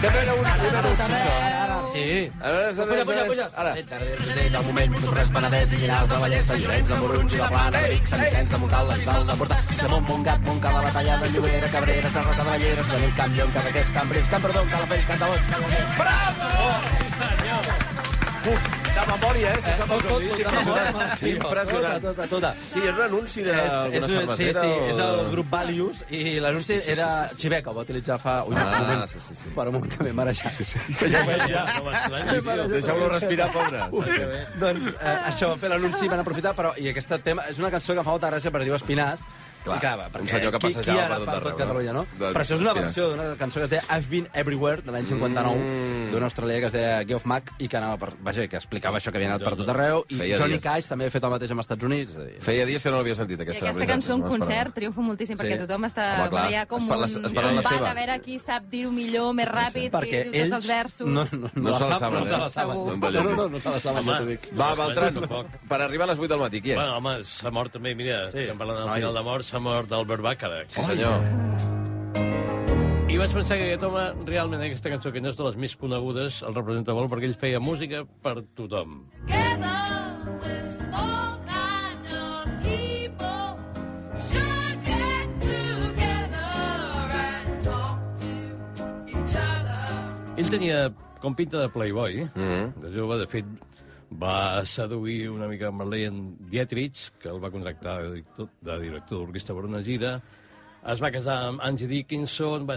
D: També era una... una...
G: Sí.
D: Ara,
G: Puja, puja, puja.
D: Ara.
I: del moment, Montorres, Penedès i Llinars de Vallès, de Llorenç, de Morunys i de Plana, de Vic, Sant Vicenç, de Montal, l'Atzal, de Bordà, de Mont, Montgat, Montcada, la Tallada, Llobera, Cabrera, Sarroca de Balleres, Benit, Camp, Llom, Cadaqués, Cambrils, Camprodon, Calafell, Cantalons, Calafell.
D: De memòria, eh? Si
G: Tot, tot, tot,
D: Sí, impressionant.
G: Tota, tota.
D: Sí, és l'anunci
G: És,
D: d'alguna
G: és, un- sí,
D: cervesera
G: sí,
D: o-
G: és el grup Valius i l'anunci sí, sí, era sí, sí. Xiveca, ho va utilitzar fa un
D: Ah,
G: moment
D: sí, sí, sí.
G: per un moment que m'he marejat. Sí, sí.
H: Ja ho veig, ja. No m'estranya.
D: Deixeu-lo respirar,
F: <laughs>
D: pobre.
G: doncs eh, això, fer l'anunci van aprofitar, però i aquest tema és una cançó que fa molta gràcia per diu Espinàs,
D: Clar,
G: I va,
D: un
G: perquè
D: senyor que
G: qui-
D: passejava
G: qui ara
D: per tot
G: fa
D: arreu, no?
G: Catalunya, no?
D: Del
G: Però això és una
D: Espinàs.
G: versió d'una cançó que es deia I've Been Everywhere, de l'any 59,
D: Mm.
G: d'un australià que es deia Geoff Mack, i que anava per... Vaja, que explicava això que havia anat per tot arreu, i
D: Feia
G: Johnny
D: dies.
G: Cash també havia fet el mateix amb els Estats Units. és a dir,
D: Feia dies que no l'havia sentit,
F: I
D: aquesta.
F: aquesta
D: veritat,
F: cançó
D: és
F: en
D: una
F: concert
D: esperança.
F: triomfa moltíssim,
G: Sí.
F: perquè tothom està...
D: Home, clar,
F: hi ha com
D: es parla-
F: un
D: es parla la
F: combat
D: seva.
F: a veure qui sap dir-ho millor, més ràpid,
G: perquè
F: qui diu
G: ells
F: tots els versos.
G: no, no, no,
D: No se la
G: sap-
D: saben,
G: no se la
D: eh?
G: saben.
F: Segur.
G: No,
D: No,
G: no, no, no se la saben,
H: Home.
G: ja t'ho dic.
D: Va, Beltran,
H: Tampoc.
D: per arribar a les 8 del matí, qui és?
H: Bueno, home, s'ha mort també, mira, sí. estem parlant del
G: Noi.
H: final de mort, s'ha mort Albert Bacharach.
D: Sí, senyor.
H: I vaig pensar que aquest home, realment, aquesta cançó, que no és de les més conegudes, el representa molt, perquè ell feia música per tothom. Ell tenia com pinta de playboy, mm -hmm. de jove, de fet, va seduir una mica amb Marlene Dietrich, que el va contractar de director de director d'orquestra per una gira, es va casar amb Angie Dickinson, va,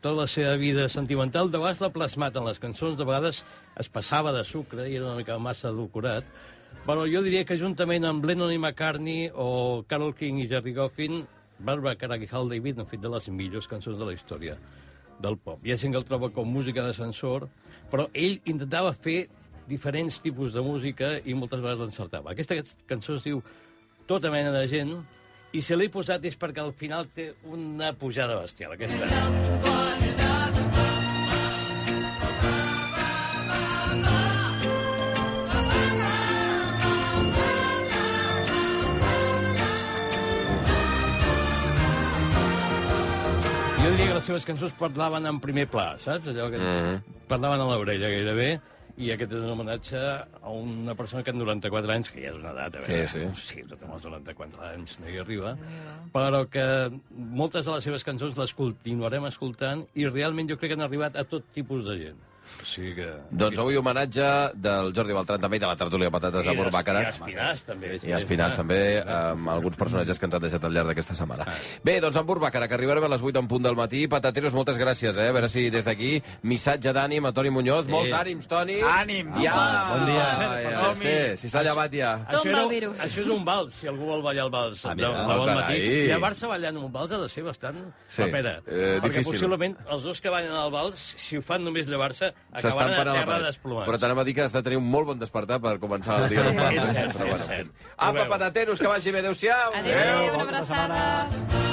H: tota la seva vida sentimental de vegades l'ha plasmat en les cançons, de vegades es passava de sucre i era una mica massa edulcorat, però jo diria que juntament amb Lennon i McCartney o Carole King i Jerry Goffin, Barbara Carac i Hal David han fet de les millors cançons de la història del pop. Hi ha gent que el troba com música d'ascensor, però ell intentava fer diferents tipus de música i moltes vegades l'encertava. Aquesta cançó es diu Tota mena de gent, i se l'he posat és perquè al final té una pujada bestial, aquesta. Jo diria que les seves cançons parlaven en primer pla, saps? Allò que mm. parlaven a l'orella gairebé, i aquest és un homenatge a una persona que en 94 anys, que ja és una edat, a veure,
D: Sí,
H: sí tothom als 94 anys no hi arriba, però que moltes de les seves cançons les continuarem escoltant i realment jo crec que han arribat a tot tipus de gent. O sigui que...
D: Doncs avui homenatge del Jordi Beltran també i de la tertúlia de patates de Burbàcara.
H: I Espinàs, també. eh?
D: I Espinars també, amb alguns personatges que ens han deixat al llarg d'aquesta setmana. Bé, doncs en Burbàcara, que arribarem a les 8 en punt del matí. Patateros, moltes gràcies, eh? A veure si des d'aquí, missatge d'ànim a Toni Muñoz. Molts ànims, Toni!
E: Ànim,
D: Ja!
E: home,
D: Bon dia! Ja,
H: Som-hi.
D: sí, si s'ha llevat ja.
F: Tomba
H: era-
F: el virus.
H: Això és un vals, si algú vol ballar el vals.
D: Ah, mira,
H: de,
D: no,
H: de bon matí.
D: carai.
H: I a Barça ballant un vals ha de ser bastant
D: Sí,
H: la pera.
D: eh,
H: perquè
D: difícil.
H: possiblement els dos que ballen al vals, si ho fan només llevar-se,
D: S'estan
H: acabaran a
D: parant a la
H: terra
D: paret.
H: desplomats.
D: Però t'anem a dir que has de tenir un molt bon despertar per començar el dia.
H: és cert,
D: Però
H: és cert.
D: Apa,
H: Ho veu.
D: patateros, que vagi bé. Adéu-siau!
F: Adéu, una abraçada.
I: setmana.